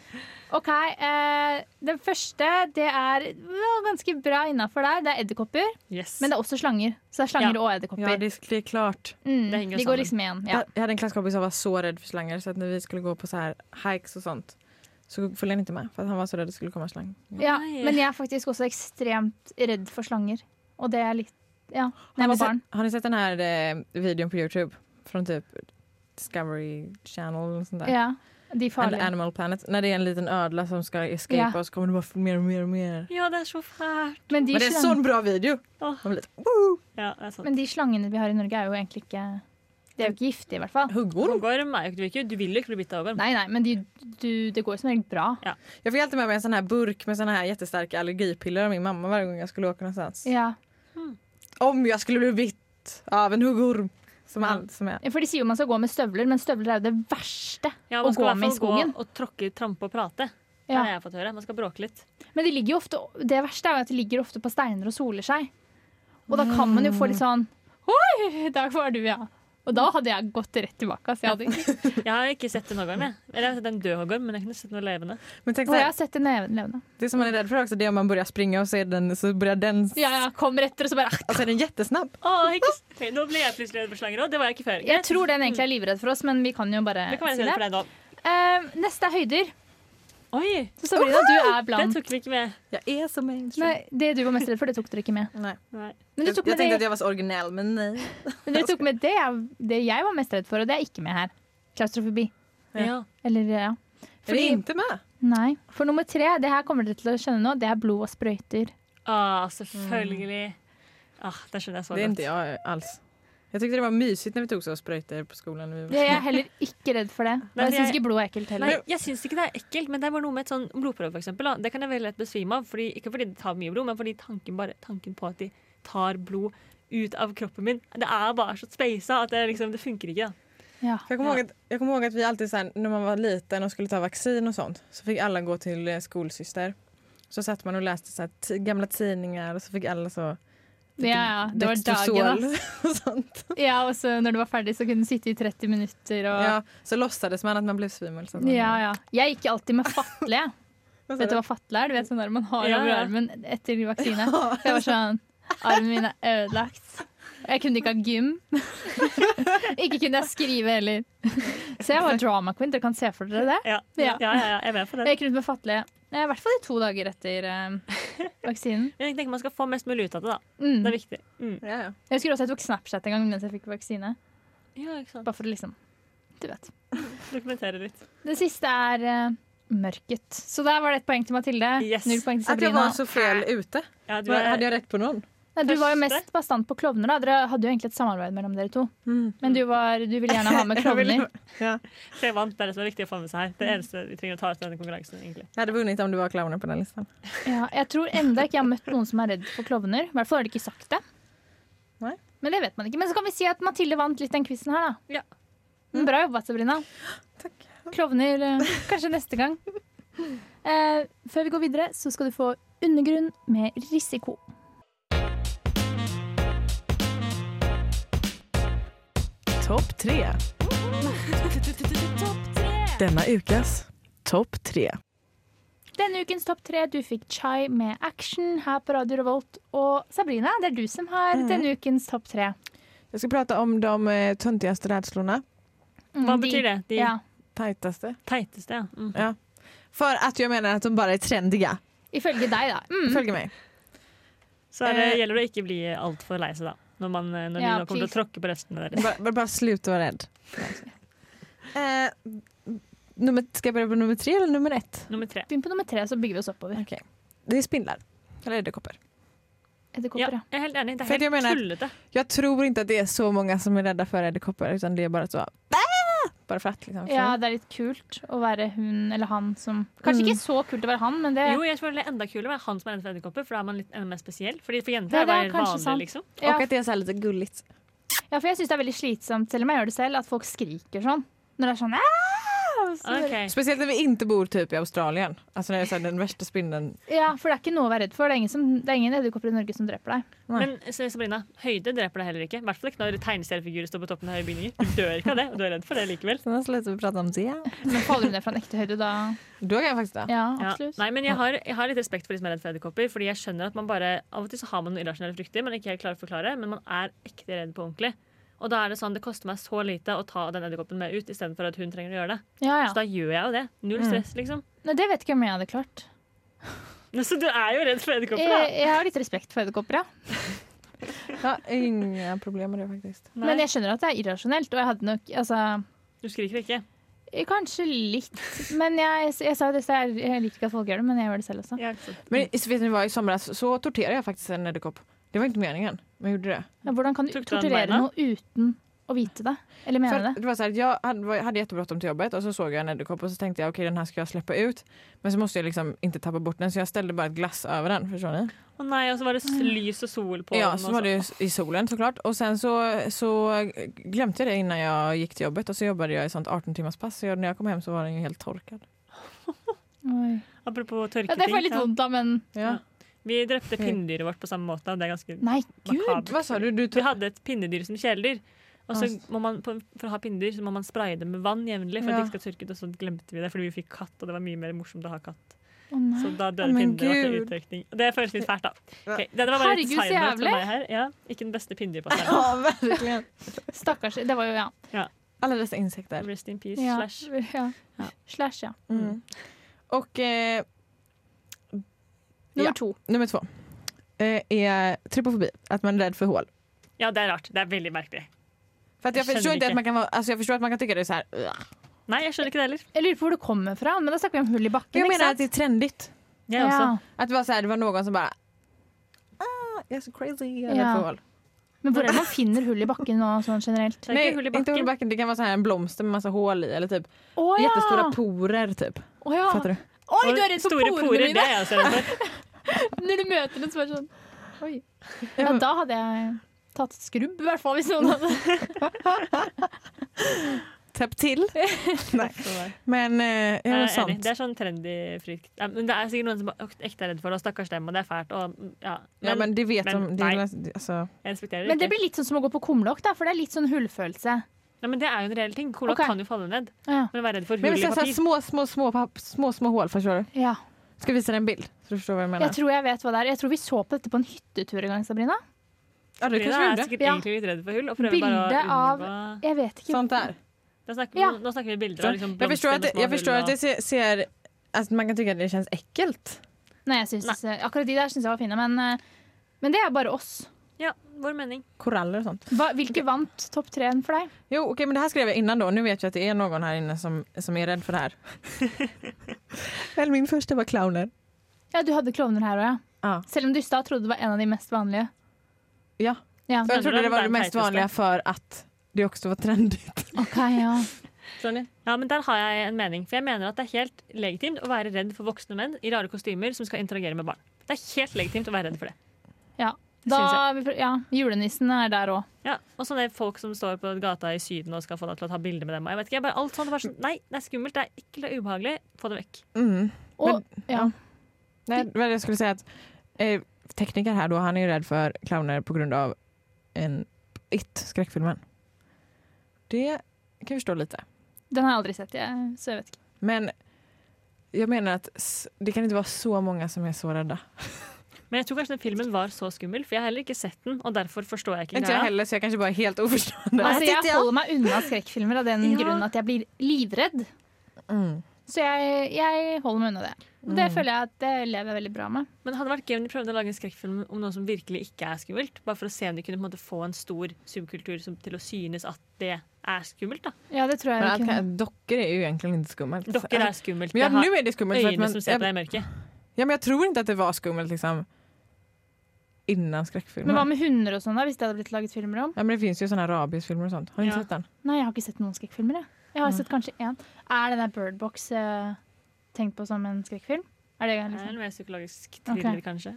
Speaker 1: OK. Eh, den første det er ja, ganske bra innafor der. Det er edderkopper,
Speaker 3: Yes.
Speaker 1: men det er også slanger. Så det er slanger
Speaker 3: Ja.
Speaker 1: og
Speaker 2: Ja,
Speaker 1: edderkopper.
Speaker 2: det är, det är klart.
Speaker 1: mm,
Speaker 3: det henger
Speaker 1: de
Speaker 3: sammen.
Speaker 1: går liksom igjen. Ja.
Speaker 2: Jag, jag hade en klasskompis som var så rädd för slanger så att när vi skulle gå på så här hikes och sånt så följde han inte med för att han var så rädd att det skulle komma slang.
Speaker 1: Ja,
Speaker 3: Nei.
Speaker 1: men jeg er faktisk også ekstremt redd for slanger. Og det er litt Ja, da
Speaker 2: Har
Speaker 1: jeg
Speaker 2: ni,
Speaker 1: var
Speaker 2: sett,
Speaker 1: barn.
Speaker 2: har ni sett den här eh, videon på Youtube? Från typ Discovery Channel och sånt där.
Speaker 1: Ja, de
Speaker 2: And
Speaker 1: farlige.
Speaker 2: Animal Planet. När det är en liten ödla som ska escape
Speaker 1: Ja.
Speaker 2: och så kommer det bara mer och mer og mer.
Speaker 3: Ja, det er så fælt.
Speaker 1: Men de,
Speaker 2: Men det sånn är en
Speaker 1: slang-
Speaker 2: sån bra video!
Speaker 3: Åh.
Speaker 2: Man blir lite-
Speaker 3: Ja, det er sant.
Speaker 1: men de slangene vi har i Norge, er jo egentlig ikke De er jo ikke giftige, i hvert fall.
Speaker 2: Huggorm!
Speaker 3: Orm er jo ikke, du, vil ikke, du vil jo ikke bli bitt av orm.
Speaker 1: Nei, nei, men de, du, det går jo som regel bra.
Speaker 2: Jag fick alltid med mig en sån här burk med såna här jättestarka allergipiller av min mamma varje gång jag skulle åka någonstans.
Speaker 1: Ja.
Speaker 2: Om jag skulle bli bitt av en huggorm! Som,
Speaker 3: Ja.
Speaker 2: all, som jag.
Speaker 1: For de sier jo man skal gå med støvler, men støvler er jo det verste
Speaker 3: Ja,
Speaker 1: å
Speaker 3: man skal
Speaker 1: gå
Speaker 3: i hvert
Speaker 1: med i
Speaker 3: fall gå
Speaker 1: skogen.
Speaker 3: og tråkke, trampe og prate. Det
Speaker 1: Ja.
Speaker 3: har jeg fått høre. Man skal bråke litt.
Speaker 1: Men de ligger jo ofte, det verste er jo at de ligger ofte på steiner og soler seg. Og da kan man jo få litt sånn Oi, der var du, ja. Og da hadde jeg gått rett tilbake. Så jeg, hadde, ikke-
Speaker 3: Jeg har ikke sett en hoggorm, jeg. Eller jeg har sett en død hoggorm, men jeg har ikke sett noe levende.
Speaker 2: Men
Speaker 1: og
Speaker 2: tänk så
Speaker 1: jeg
Speaker 2: här,
Speaker 1: har sett det neven levende.
Speaker 2: det som man är rädd för också det är om man börjar springa och ser den, så börjar den...
Speaker 1: Ja, ja, kom etter, og så bare ah.
Speaker 2: Och så är den jättesnabb.
Speaker 3: Å, ikke, Ok, nå ble jeg plutselig redd for slanger òg. Det var jeg ikke før.
Speaker 1: Jeg tror den egentlig er livredd for oss, men vi kan jo bare
Speaker 3: det kan være
Speaker 1: si
Speaker 3: redd
Speaker 1: det.
Speaker 3: for deg nå.
Speaker 1: Eh, neste er høyder.
Speaker 3: Oi!
Speaker 1: Så Sabrina, du er
Speaker 3: Den
Speaker 1: blant
Speaker 3: tok vi ikke med.
Speaker 2: Jag är så mainstream.
Speaker 1: Nei, Det du var mest redd for, det tok dere ikke med.
Speaker 2: Nej.
Speaker 3: Nei.
Speaker 1: Men du
Speaker 2: Jag,
Speaker 1: tok
Speaker 2: jag
Speaker 1: med
Speaker 2: tänkte
Speaker 1: det
Speaker 2: att jag var så originell, men nej.
Speaker 1: Men dere tok med det, jeg- det jeg var mest redd for, og det er ikke med her. Klaustrofobi.
Speaker 3: Ja.
Speaker 1: Eller, ja.
Speaker 2: Är det
Speaker 1: Fordi,
Speaker 2: inte med?
Speaker 1: nei. For nummer tre, det her kommer dere til å skjønne nå, det er blod og sprøyter.
Speaker 3: Ah, selvfølgelig. Ah, det skjønner jeg så
Speaker 2: Det är
Speaker 3: godt.
Speaker 2: inte jag alls. Jag tyckte det var mysigt när vi tog så spröjter på skolan. När vi var
Speaker 1: Det er jeg heller ikke redd for det. Og
Speaker 3: Nei,
Speaker 1: jeg
Speaker 3: det er-
Speaker 1: syns ikke blod er ekkelt
Speaker 3: Nei,
Speaker 1: heller.
Speaker 3: jeg syns ikke det er ekkelt, men det er bare noe med et sånn blodprøve, for eksempel, da. Det kan jeg veldig lett besvime av. Fordi, ikke fordi det tar mye blod, men fordi tanken, bare, tanken på at de tar blod ut av kroppen min Det er bare så speisa at det, liksom, det funker ikke. Da.
Speaker 1: Ja.
Speaker 2: Jag kommer, ihåg att, jag kommer ihåg att vi alltid så här, när man var liten og skulle ta vaccin och sånt så fick alla gå till eh, skolsyster. Så satt man och läste så här, t- gamla tidningar och så fick alla så
Speaker 1: Ja, ja. Det var dagen, da.
Speaker 2: Dextrosol och sånt.
Speaker 1: Ja, og så når det var ferdig, så kunne du sitte i 30 minutter og
Speaker 2: Ja, så låtsades man att man blev svimmel. Så att man-
Speaker 1: Ja, ja. Jeg gikk alltid med fatle. jeg.
Speaker 2: Vad sa
Speaker 1: Vet du
Speaker 2: du?
Speaker 1: hva fatle er? Du vet sånn der man har
Speaker 3: Ja,
Speaker 1: over
Speaker 3: ja.
Speaker 1: armen etter vaksine. For jeg var sånn Armen min er ødelagt. Og Jeg kunne ikke ha gym. ikke kunne jeg skrive heller. Så jeg var drama queen. Dere kan se for dere det.
Speaker 3: Ja, ja,
Speaker 1: Ja.
Speaker 3: ja, ja jeg er med på
Speaker 1: Jeg
Speaker 3: det.
Speaker 1: gikk rundt med fatle eh, i hvert fall i to dager etter eh, vaksinen.
Speaker 3: Jeg tenker Man skal få mest mulig ut av det. da. Det
Speaker 1: Mm.
Speaker 3: er viktig. Mm.
Speaker 2: Ja, ja.
Speaker 1: Jeg husker også jeg tok Snapchat en gang mens jeg fikk vaksine.
Speaker 3: Ja, ikke sant.
Speaker 1: Bare for å liksom Du vet.
Speaker 3: Dokumentere litt.
Speaker 1: Det siste er eh, mørket. Så der var det ett poeng til Mathilde.
Speaker 3: Yes.
Speaker 1: Null poeng til
Speaker 2: Att jag
Speaker 1: Sabrina.
Speaker 2: var så fel ute.
Speaker 3: Ja, du
Speaker 2: Var,
Speaker 3: er,
Speaker 2: hade jag rätt på någon?
Speaker 1: Nei, du var jo
Speaker 3: Første.
Speaker 1: mest bastant på klovner. da Dere hadde jo egentlig et samarbeid mellom dere to. Men du, var, du ville gjerne ha med
Speaker 2: Jag, ville-
Speaker 1: klovner.
Speaker 2: ja.
Speaker 3: så jeg vant. Det er det som er viktig å få med seg her. Det eneste vi trenger å ta ut av denne konkurransen. egentlig.
Speaker 2: jag hade vunnit om du var clownen på den listan.
Speaker 1: Ja, jeg tror enda ikke jeg har møtt noen som er redd for klovner. I hvert fall har de ikke sagt det.
Speaker 2: Nei.
Speaker 1: Men det vet man ikke. Men så kan vi si at Mathilde vant litt den quizen her, da.
Speaker 3: Ja.
Speaker 1: Men Bra jobba, Sabrina.
Speaker 2: Takk.
Speaker 1: Klovner eh, kanskje neste gang. Eh, før vi går videre, så skal du få Undergrunn med risiko.
Speaker 2: Topp tre. Denna ukas topp tre.
Speaker 1: Denne ukens topp tre, du fikk Chai med Action her på Radio Revolt. Og Sabrina, det er du som har denne ukens topp tre.
Speaker 2: Jag ska prata om de eh, töntigaste rädslorna.
Speaker 1: Mm,
Speaker 3: Hva
Speaker 1: de-
Speaker 3: betyr det? De
Speaker 1: Ja.
Speaker 2: Tajtaste.
Speaker 3: teiteste, ja. Mm.
Speaker 2: För att jag menar att de bara är trendiga.
Speaker 1: Ifølge deg, da. Mm.
Speaker 2: Följ mig.
Speaker 3: Så er det,
Speaker 2: Eh.
Speaker 3: gjelder det å ikke bli altfor lei seg, da. Når, man, eh, når
Speaker 1: Ja,
Speaker 3: vi nå kommer til å
Speaker 1: please.
Speaker 3: tråkke på røstene deres.
Speaker 2: Bara, bara, bara sluta vara rädd. eh, nummer, ska jag börja på nummer tre eller nummer ett?
Speaker 3: Nummer tre.
Speaker 1: Begynn på nummer tre, så bygger vi oss oppover.
Speaker 2: Okej. Det är spindlar. Eller edderkoppor.
Speaker 3: Ja,
Speaker 1: Edderkopper, ja.
Speaker 3: jeg er helt enig. Det
Speaker 2: For
Speaker 3: er
Speaker 2: jeg
Speaker 3: helt
Speaker 2: mener-
Speaker 3: tullete.
Speaker 2: Jag tror inte att det är så många som är rädda för edderkoppor utan det är bara så... Ah! Bara för att liksom.
Speaker 1: Ja, det er litt kult å være hun eller han som Kanskje
Speaker 2: Mm.
Speaker 1: ikke så kult å være han, men det
Speaker 3: Jo, jeg tror det er enda kulere å være han som er redd for edderkopper, for da er man litt enda mer spesiell. Fordi for jenter
Speaker 1: Ja,
Speaker 3: er det
Speaker 1: det er
Speaker 3: bare
Speaker 1: kanskje
Speaker 3: vanlig,
Speaker 1: sant.
Speaker 3: liksom.
Speaker 1: ja.
Speaker 2: Och att det är så här lite gulligt.
Speaker 1: ja, for jeg syns det er veldig slitsomt, selv om jeg gjør det selv, at folk skriker sånn. Når det er sånn «Ah!» og så-
Speaker 3: Ok.
Speaker 2: Speciellt när vi inte bor typ i Australien. Alltså när det är så här, den värsta spindeln.
Speaker 1: Ja, for det er ikke noe å være redd for. Det er ingen, som- det er ingen edderkopper i Norge som dreper deg.
Speaker 2: Nei.
Speaker 3: Men eh, så, Sabrina, høyde dreper deg heller ikke. I hvert fall ikke når tegneseriefigurer står på toppen av høye bygninger. Du dør ikke av det, og du er redd for det likevel.
Speaker 2: Sen slutar vi prata om det.
Speaker 1: Men faller du ned fra en ekte høyde, da
Speaker 2: Då kan jag faktiskt det.
Speaker 1: Ja,
Speaker 3: Ja.
Speaker 1: absolutt.
Speaker 3: Nei, men jeg har, jeg har litt respekt for de som er redd for edderkopper. Fordi jeg skjønner at man bare Av og til så har man noen irrasjonelle frykter man ikke helt klarer å forklare, men man er ekte redd på ordentlig. Og da er det sånn, det koster meg så lite å ta den edderkoppen med ut, istedenfor at hun trenger å gjøre det.
Speaker 1: Ja, Mm.
Speaker 3: Så
Speaker 1: ja.
Speaker 3: da gjør jeg jo det. Null stress, liksom.
Speaker 1: Nei, det vet ikke om jeg hadde klart.
Speaker 3: Så du er jo redd for edderkopper,
Speaker 1: Jeg,
Speaker 3: da.
Speaker 1: jeg har litt respekt for edderkopper, ja.
Speaker 2: Ja, inga problem med det faktiskt.
Speaker 3: Nei,
Speaker 1: Men jeg skjønner at det er irrasjonelt, og jeg hadde nok altså,
Speaker 3: Du skriker ikke.
Speaker 1: Eh, Kanskje litt. Men jeg, jeg sa jo det, så jeg, jeg liker ikke at folk gjør det, men jeg gjør det selv også.
Speaker 3: Ja, ikke sant.
Speaker 2: Men vet ni vad, i somras så torterade jag faktiskt en edderkopp. Det var inte meningen, men jag gjorde det.
Speaker 1: Ja, hvordan kan du
Speaker 3: Tok du han
Speaker 1: torturere
Speaker 3: beina?
Speaker 1: noe uten å vite det? Eller
Speaker 2: För
Speaker 1: mene
Speaker 2: att
Speaker 1: det?
Speaker 2: det var så här, jag hade, var- hade jättebråttom till jobbet och så såg jag en edderkopp och så tänkte jag okej den här ska jag släppa ut. Men så måste jag liksom inte tappa bort den så jeg ställde bara ett glass över den. Förstår ni?
Speaker 3: Å nei, og så var det lys og sol på
Speaker 2: ja,
Speaker 3: den.
Speaker 2: så
Speaker 3: og
Speaker 2: var
Speaker 3: sånn.
Speaker 2: det ju i solen såklart. Och sen så, så glömde jag det innan jag gick till jobbet och så jobbade jag i sånt 18 timmars pass. Så jag, när jag kom hem så var den ju helt torkad.
Speaker 1: Oi.
Speaker 3: Apropos
Speaker 1: Ja, det
Speaker 3: tørketing.
Speaker 1: får jeg litt vondt av, men
Speaker 2: Ja.
Speaker 3: Vi drepte pinnedyret vårt på samme måte. og Det er ganske
Speaker 1: nei, gud!
Speaker 3: makabert.
Speaker 2: Vad sa du? du
Speaker 3: Vi
Speaker 2: tog,
Speaker 3: hadde et pinnedyr som kjæledyr. Og så må man, på- For å ha pinnedyr så må man spraye det med vann jevnlig. For at det
Speaker 2: Ja.
Speaker 3: ikke skal tørke ut, og så glemte vi det fordi vi fikk katt. Og det var mye mer morsomt å ha katt
Speaker 1: Å, nei.
Speaker 3: Så da
Speaker 2: Å,
Speaker 3: døde
Speaker 2: men
Speaker 3: pinnedyret vårt i
Speaker 2: Gud.
Speaker 3: uttørkning. Og Det føles litt fælt, da.
Speaker 2: Ja.
Speaker 3: Ok, det var bare et
Speaker 1: Herregud, så
Speaker 3: side note
Speaker 1: jævlig.
Speaker 3: for meg her. Ja, ikke den beste pinnedyr
Speaker 2: ja, verkligen.
Speaker 1: Stakkars. Det var jo ja.
Speaker 2: Alla dessa insekter.
Speaker 3: Rest in peace.
Speaker 1: Ja.
Speaker 3: Slash.
Speaker 1: ja.
Speaker 3: Ja.
Speaker 1: Slash, ja.
Speaker 2: Mm. Och eh,
Speaker 1: Nummer
Speaker 2: Ja.
Speaker 1: to.
Speaker 2: nummer två eh, är trypofobi, att man är rädd för hål.
Speaker 3: Ja, det er rart. Det er veldig merkelig.
Speaker 2: För att jag,
Speaker 3: Jag känner
Speaker 2: förstår inte
Speaker 3: inte.
Speaker 2: att man kan altså, vara, alltså jag förstår att man kan tycka det är så här. "Ugh."
Speaker 3: Nei, jeg skjønner ikke det heller.
Speaker 1: Jeg lurer på hvor det kommer fra, men da snakker vi om hull i bakken.
Speaker 2: Jag
Speaker 1: ikke
Speaker 2: menar att det
Speaker 1: sant?
Speaker 2: är trendigt.
Speaker 3: Jeg også.
Speaker 2: Att det var, så här, det var någon som bara ah, jag är så crazy, jag är
Speaker 1: Ja.
Speaker 2: rädd för hål.
Speaker 1: Men hvor er det man finner hull i bakken nå, sånn generelt?
Speaker 3: Det er
Speaker 2: Nej,
Speaker 3: ikke hull i
Speaker 2: inte hull i
Speaker 3: bakken.
Speaker 2: backen. Det kan vara så här en blomster med massa hål i eller typ
Speaker 1: Å ja!
Speaker 2: jättestora porer typ.
Speaker 1: Å, ja.
Speaker 2: Fattar du?
Speaker 1: Oi,
Speaker 3: Og
Speaker 1: du er redd for
Speaker 3: Store
Speaker 1: porene
Speaker 3: porer, det
Speaker 1: mine!
Speaker 3: er jeg også redd for.
Speaker 1: Når du møter den, så er det sånn Oi. Ja, da hadde jeg tatt skrubb, i hvert fall, hvis noen hadde
Speaker 2: tepp til. Nei. Men eh, ja,
Speaker 3: Jeg
Speaker 2: noe
Speaker 3: er enig.
Speaker 2: sånt.
Speaker 3: Det er sånn trendy frykt. Ja, men det er sikkert noen som er ekte er redd for det, og stakkars dem, og det er fælt. Og, mm, ja. Men,
Speaker 2: ja, men de vet
Speaker 3: men
Speaker 2: om de,
Speaker 3: nei.
Speaker 2: altså,
Speaker 3: jeg respekterer det
Speaker 1: Men det
Speaker 3: ikke.
Speaker 1: blir litt sånn som å gå på kumlokk, da, for det er litt sånn hullfølelse.
Speaker 3: Nei, men det er jo en reell ting. Cola
Speaker 1: Ok.
Speaker 3: kan jo falle ned.
Speaker 1: Ja.
Speaker 3: Men å være redd for
Speaker 2: Men
Speaker 3: hull
Speaker 2: hvis
Speaker 3: i
Speaker 2: jeg sa
Speaker 3: papir.
Speaker 2: små, små, små, papp- små, små hål, forstår du?
Speaker 1: ja.
Speaker 2: Skal jeg vise deg en bild, så du forstår hva jeg mener?
Speaker 1: Jeg tror jeg vet hva det er. Jeg tror vi så på dette på en hyttetur en gang, Sabrina.
Speaker 2: ja, det
Speaker 3: Frida
Speaker 2: kanskje
Speaker 3: er
Speaker 2: vi gjorde.
Speaker 3: sikkert
Speaker 1: Ja.
Speaker 3: egentlig litt redd for hull. Og prøver bare å
Speaker 1: Bildet av-
Speaker 3: unngå
Speaker 1: Jeg vet ikke.
Speaker 2: Sånt der.
Speaker 3: Da snakker,
Speaker 1: Ja.
Speaker 3: vi- Nå snakker vi bilder
Speaker 2: Så-
Speaker 3: av liksom
Speaker 2: Jeg forstår at,
Speaker 3: blomster
Speaker 2: det-
Speaker 3: med
Speaker 2: jeg
Speaker 3: små
Speaker 2: forstår
Speaker 3: hull.
Speaker 2: at det ser, ser altså, Man kan tycka att det känns äckelt.
Speaker 1: Nei, jeg synes, akkurat de der syns jeg var fine, men, eh, men det er bare oss.
Speaker 3: Og... Ja, vår mening.
Speaker 2: Koraller och sånt.
Speaker 1: Hva, hvilke vant topp treen for deg?
Speaker 2: Jo, okej, men det här skrev jag innan då. Nu vet jag att det är någon här inne som, som är rädd för det här. Väl, min första var clowner.
Speaker 1: Ja, Du hadde klovner her òg, ja.
Speaker 2: Ja.
Speaker 1: Selv om du i stad trodde det var en av de mest vanlige.
Speaker 2: Ja.
Speaker 1: Ja,
Speaker 2: Jag trodde det var det
Speaker 3: Den
Speaker 2: mest
Speaker 3: tajtaste.
Speaker 2: vanliga för att det också var trendigt.
Speaker 1: ok, ja.
Speaker 2: Förstår ni?
Speaker 3: Ja, men Der har jeg en mening. For jeg mener at det er helt legitimt å være redd for voksne menn i rare kostymer som skal interagere med barn. Det er helt legitimt å være redd for det.
Speaker 1: Da, vi prø- ja, julenissen er der òg.
Speaker 3: Ja, Og sånne folk som står på gata i Syden og skal få deg til å ta bilde med dem. og Jeg vet ikke, jeg bare, alt sånt, er bare sånn, Nei, det er skummelt, det er ekkelt og ubehagelig. Få det vekk.
Speaker 2: Mm.
Speaker 1: Og ja.
Speaker 2: Nej, vad jag skulle säga att eh, tekniker här då, han är ju rädd för clowner på grund av en It, skräckfilmen. Det kan jag förstå lite.
Speaker 1: Den har jeg aldri sett, jeg, så jeg vet ikke.
Speaker 2: Men jag menar att s- det kan inte vara så många som är så rädda.
Speaker 3: Men jeg tror kanskje den filmen var så skummel, for jeg har heller ikke sett den. Og derfor forstår jeg ikke
Speaker 2: Inte jag heller, så jag kanske bara är helt oförstående.
Speaker 1: Altså, jeg holder meg unna skrekkfilmer av den
Speaker 3: Ja.
Speaker 1: grunn at jeg blir livredd.
Speaker 2: Mm.
Speaker 1: Så jeg, jeg holder meg unna det. Og det føler jeg at det lever jeg veldig bra med.
Speaker 3: Men det hadde vært gøy om de prøvde å lage en skrekkfilm om noe som virkelig ikke er skummelt. Bare for å se om de kunne på en måte få en stor subkultur som, til å synes at det er skummelt. da.
Speaker 1: Ja, det tror jeg
Speaker 2: Men
Speaker 1: vi
Speaker 2: att,
Speaker 1: kunne.
Speaker 2: kan- dockor är ju egentligen inte skummelt.
Speaker 3: Dokker er skummelt.
Speaker 2: Men ja,
Speaker 3: Jeg har
Speaker 2: nu är det skummelt. För att
Speaker 3: øyne
Speaker 2: man,
Speaker 3: som ser på
Speaker 2: jag,
Speaker 3: deg i mørket.
Speaker 2: ja, men jag tror inte att det var skummelt liksom, innan skräckfilmen.
Speaker 1: Men hva med hunder og sånn, da, hvis det hadde blitt laget filmer om?
Speaker 2: Ja, men det finns ju såna här rabiesfilmer og sånt. Har ni
Speaker 3: Ja.
Speaker 2: sett den?
Speaker 1: Nei, jeg har ikke sett noen skrekkfilmer. Jeg, jeg har sett kanskje én. Er den der Birdbox eh, tenkt på som en skrekkfilm? Er det
Speaker 3: Det er
Speaker 1: liksom?
Speaker 3: en mer psykologisk thriller,
Speaker 1: Ok.
Speaker 3: kanskje.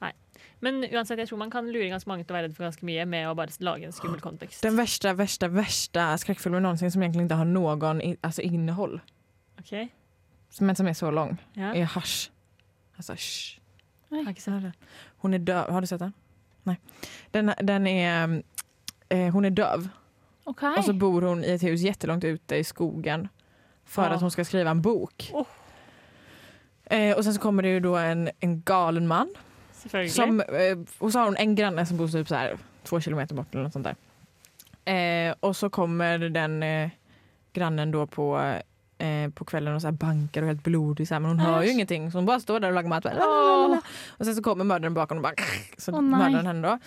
Speaker 3: Nei. Men uansett, jeg tror man kan lure ganske mange til å være redd for ganske mye med å bare lage en skummel kontekst.
Speaker 2: Den värsta, värsta, värsta skräckfilmen någonsin som egentligen inte har någon i, alltså, innehåll.
Speaker 3: Ok? Ja.
Speaker 2: Men som är så lång.
Speaker 3: Jeg
Speaker 2: Är hasch. Alltså, shh.
Speaker 3: har ikke sett det.
Speaker 2: Hon är döv. Har du sett den? Nej. Den, den är... Eh, hon är döv
Speaker 1: Ok.
Speaker 2: och så bor hon i ett hus jättelångt ute i skogen för
Speaker 3: Ah.
Speaker 2: att hon ska skriva en bok.
Speaker 3: Oh.
Speaker 2: Eh, och sen så kommer det ju då en, en galen man
Speaker 3: Selvfølgelig.
Speaker 2: Som, eh, och så har hon en granne som bor typ så här, två kilometer bort eller något sånt där. Eh, och så kommer den eh, grannen då på, eh, på kvällen och så här bankar och är helt blodig så här, men hon hör ju ingenting så hon bara står där och lagar mat. Bara, la, la, la, la. Och sen så kommer mördaren bakom och bara så
Speaker 1: Åh, nej.
Speaker 2: mördar han henne då.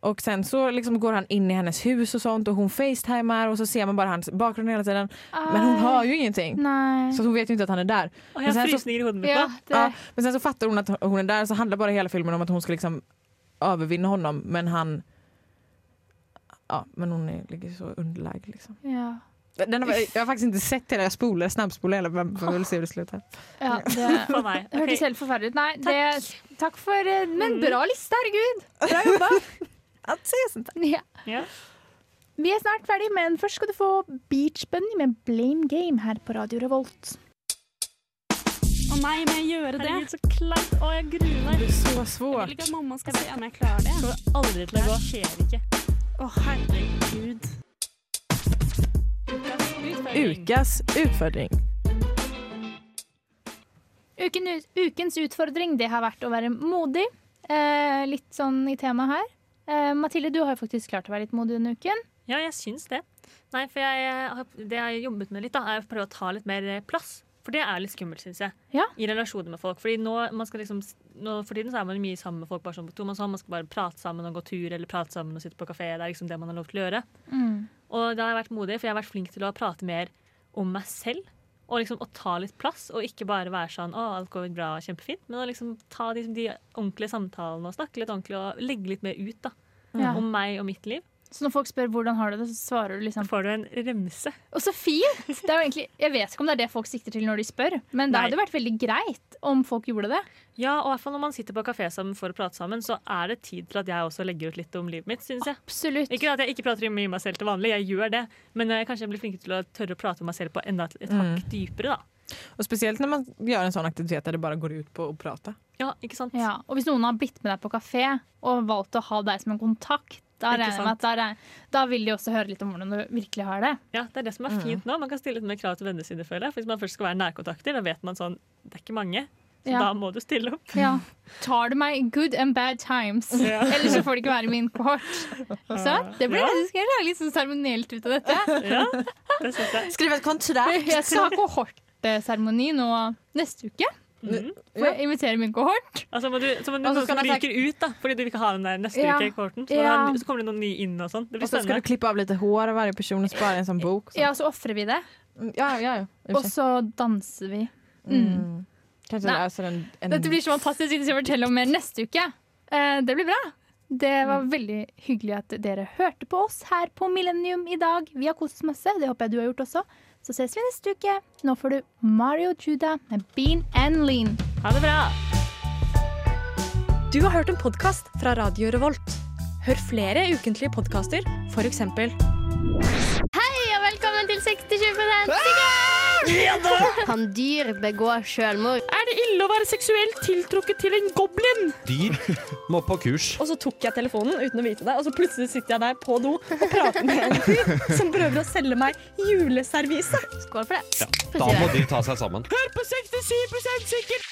Speaker 2: Och sen så liksom går han in i hennes hus och sånt och hon facetimar och så ser man bara hans bakgrund hela tiden. Men hon hör ju ingenting.
Speaker 1: ah, Nei.
Speaker 2: Så hon vet ju inte att han är där.
Speaker 3: Å, jeg
Speaker 2: Men
Speaker 3: har
Speaker 2: sen så-
Speaker 3: frysninger i hodet mitt
Speaker 1: Ja,
Speaker 3: nå.
Speaker 1: det,
Speaker 2: Ja, men sen så fattar hon att hon är där så handlar bara hela filmen om att hon ska liksom övervinna honom men han Ja, men hon är, ligger så underläge liksom.
Speaker 1: ja.
Speaker 2: Den har, jag har faktiskt inte sett hela, jag spolar, snabbspolar hela, men får väl se hur det slutar.
Speaker 1: ja det
Speaker 3: For meg.
Speaker 1: hørtes
Speaker 3: Ok.
Speaker 1: helt forferdelig ut. Nei, det, takk for eh, Men bra liste, herregud! Bra jobba.
Speaker 2: Att se sånt
Speaker 1: Ja.
Speaker 3: Ja.
Speaker 1: Vi er snart ferdig, men først skal du få Beach Bunny med Blame Game her på Radio Revolt.
Speaker 7: Å nei, må jeg gjøre det?
Speaker 3: Herregud, så kleint. Å, jeg gruer meg.
Speaker 2: Det er så
Speaker 7: Jeg
Speaker 2: svårt.
Speaker 7: vil ikke at mamma skal se om jeg klarer det.
Speaker 3: Jeg kommer aldri til å gå. Det skjer ikke.
Speaker 7: Å herregud.
Speaker 2: Ukas utfordring.
Speaker 1: Uken, ukens utfordring det har vært å være modig. Eh, litt sånn i temaet her. Eh, Mathilde, du har jo faktisk klart å være litt modig denne uken.
Speaker 3: Ja, jeg syns det. Nei, for jeg, eh, har- det jeg har jobbet med litt, da, er å prøve å ta litt mer eh, plass. For det er litt skummelt, syns jeg.
Speaker 1: Ja.
Speaker 3: I relasjoner med folk. Fordi nå, man skal liksom, nå for tiden så er man jo mye sammen med folk bare sånn på tomannshånd. Man skal bare prate sammen og gå tur eller prate sammen og sitte på kafé. Det er liksom det man har lov til å gjøre.
Speaker 1: Mm.
Speaker 3: Og da har jeg vært modig, for jeg har vært flink til å prate mer om meg selv. Og liksom å ta litt plass, og ikke bare være sånn 'Å, alt går bra, kjempefint', men å liksom ta de, de ordentlige samtalene og snakke litt ordentlig og legge litt mer ut da,
Speaker 1: Ja.
Speaker 3: om meg og mitt liv.
Speaker 1: Så når folk spør hvordan har du det, så svarer du liksom
Speaker 3: Da får du en remse.
Speaker 1: Og så fint! Det er jo egentlig, jeg vet ikke om det er det folk sikter til når de spør, men det
Speaker 3: Nei.
Speaker 1: hadde vært veldig greit om folk gjorde det.
Speaker 3: Ja, og i hvert fall når man sitter på kafé sammen for å prate sammen, så er det tid til at jeg også legger ut litt om livet mitt, synes jeg.
Speaker 1: Absolutt.
Speaker 3: Ikke at jeg ikke prater mye om meg selv til vanlig, jeg gjør det, men eh, kanskje jeg blir flinkere til å tørre å prate om meg selv på enda et, et hakk
Speaker 1: Mm.
Speaker 3: dypere, da.
Speaker 2: Og spesielt når man gjør en sånn aktivitet der det bare går ut på å prate.
Speaker 3: Ja, ikke sant?
Speaker 1: Ja, og hvis noen har blitt med deg på kafé og valgt å ha deg som en kontakt, da,
Speaker 3: Ikke
Speaker 1: regner jeg med at da, regner- da vil de også høre litt om hvordan du virkelig har det.
Speaker 3: Ja, det er det som
Speaker 2: Mm.
Speaker 3: er fint nå. Man kan stille litt mer krav til vennene sine, føler jeg. For hvis man først skal være nærkontakter, da vet man sånn Det er ikke mange, så
Speaker 1: Ja.
Speaker 3: da må du stille opp.
Speaker 1: Ja. Tar du meg good and bad times, ellers så får det ikke være min kohort. Så det blir,
Speaker 3: Ja.
Speaker 1: jeg skal lage litt sånn seremonielt ut av dette.
Speaker 3: Ja, det synes jeg.
Speaker 2: Skriv et kontrakt!
Speaker 1: Jeg skal ha kohortseremoni nå neste uke.
Speaker 3: Mm.
Speaker 1: Får jeg invitere min kohort?
Speaker 3: Altså, må du, så må du,
Speaker 2: Og så
Speaker 3: noen
Speaker 2: skal
Speaker 3: som
Speaker 2: det-
Speaker 3: ryker ut, da, fordi du vil ikke ha den der neste
Speaker 1: Ja.
Speaker 3: uke i kohorten. Så,
Speaker 1: Ja.
Speaker 3: da, så kommer det noen nye inn og sånn. Det
Speaker 2: Og
Speaker 3: blir
Speaker 2: så skal du
Speaker 3: spennende.
Speaker 2: klippe av litt hår av hver person og spare i en sånn bok. og sånn.
Speaker 1: Ja, så ofrer vi det.
Speaker 2: Ja, ja, ja. I og
Speaker 1: Og
Speaker 2: for seg.
Speaker 1: så danser vi. Mm.
Speaker 2: Mm. Kanskje det
Speaker 1: Nei.
Speaker 2: er sånn en, en
Speaker 1: Dette blir så fantastisk hvis jeg skal fortelle om mer neste uke. Eh, det blir bra. Det var veldig hyggelig at dere hørte på oss her på Millennium i dag. Vi har kost oss masse. Det håper jeg du har gjort også. Så ses vi neste uke. Nå får du Mario Juda med Bean and Lean.
Speaker 3: Ha det bra!
Speaker 8: Du har hørt en podkast fra Radio Revolt. Hør flere ukentlige podkaster, f.eks.
Speaker 4: Ja, velkommen til 60-20
Speaker 6: Ah!
Speaker 4: Han dyr begår selvmord.
Speaker 8: Er det ille å være seksuelt tiltrukket til en goblin?
Speaker 6: Dyr må på kurs.
Speaker 8: Og så tok jeg telefonen uten å vite det, og så plutselig sitter jeg der på do og prater med en fyr som prøver å selge meg juleservise.
Speaker 4: Skål for det.
Speaker 6: Da må de ta seg sammen.
Speaker 8: Hør på 67 sikkert!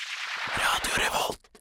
Speaker 6: Radio Revolt.